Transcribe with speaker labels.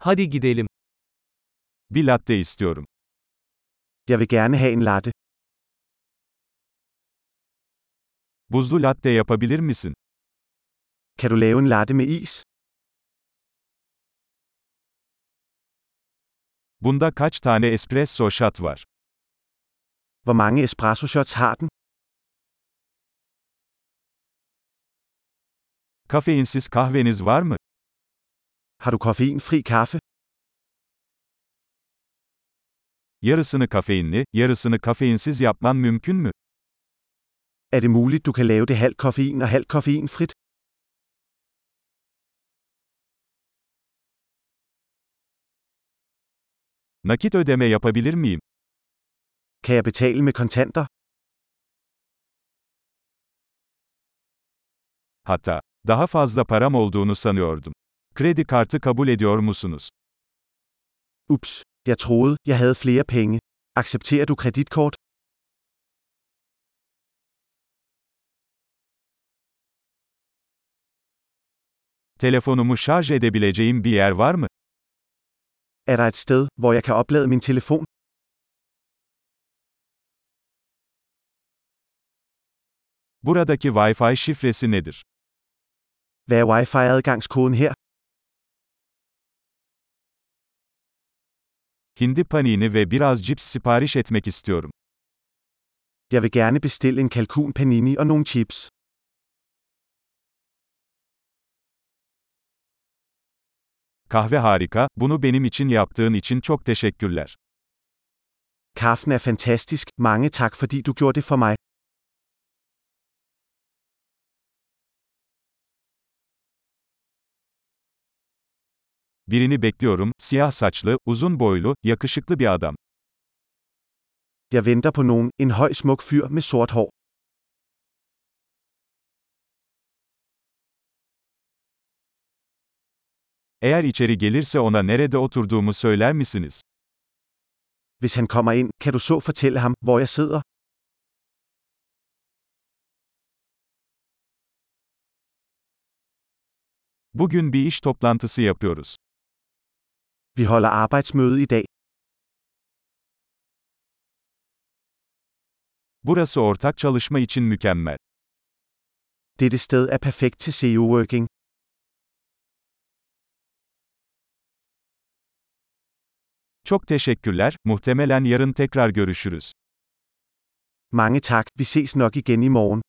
Speaker 1: Hadi gidelim. Bir latte istiyorum.
Speaker 2: Jeg vil gerne have en latte.
Speaker 1: Buzlu latte yapabilir misin?
Speaker 2: Kan du lave en latte med is?
Speaker 1: Bunda kaç tane espresso shot var?
Speaker 2: Hvor mange espresso shots har den?
Speaker 1: Kafeinsiz kahveniz var mı?
Speaker 2: Har du koffeinfri kaffe?
Speaker 1: Yarısını kafeinli, yarısını kafeinsiz yapman mümkün mü?
Speaker 2: Er det muligt, du kan lave det halvt koffein og halvt koffeinfrit?
Speaker 1: Nakit ödeme yapabilir miyim?
Speaker 2: Kan jeg betale med kontanter?
Speaker 1: Hatta daha fazla param olduğunu sanıyordum. Kredi kartı kabul ediyor musunuz?
Speaker 2: Ups, jeg troede, jeg havde flere penge. Accepterer du kreditkort?
Speaker 1: Telefonumu şarj edebileceğim bir yer var mı?
Speaker 2: Er der et sted, hvor jeg kan oplade min telefon?
Speaker 1: Buradaki Wi-Fi şifresi nedir?
Speaker 2: Hvad er wifi-adgangskoden her?
Speaker 1: Hindi panini ve biraz cips sipariş etmek istiyorum.
Speaker 2: Jeg vil gerne bestille en kalkun panini og nogle chips.
Speaker 1: Kahve harika, bunu benim için yaptığın için çok teşekkürler.
Speaker 2: Kaffen er fantastisk, mange tak fordi du gjorde det for mig.
Speaker 1: Birini bekliyorum, siyah saçlı, uzun boylu, yakışıklı bir adam.
Speaker 2: Jeg venter på nogen, en høj smuk fyr med sort hår.
Speaker 1: Eğer içeri gelirse ona nerede oturduğumu söyler misiniz?
Speaker 2: Hvis han kommer ind, kan du så fortælle ham, hvor jeg sidder?
Speaker 1: Bugün bir iş toplantısı yapıyoruz.
Speaker 2: Vi holder arbejdsmøde i dag.
Speaker 1: Burası ortak çalışma için mükemmel.
Speaker 2: Dette sted er perfekt til CEO-working.
Speaker 1: Çok teşekkürler, muhtemelen yarın tekrar görüşürüz.
Speaker 2: Mange tak, vi ses nok igen i morgen.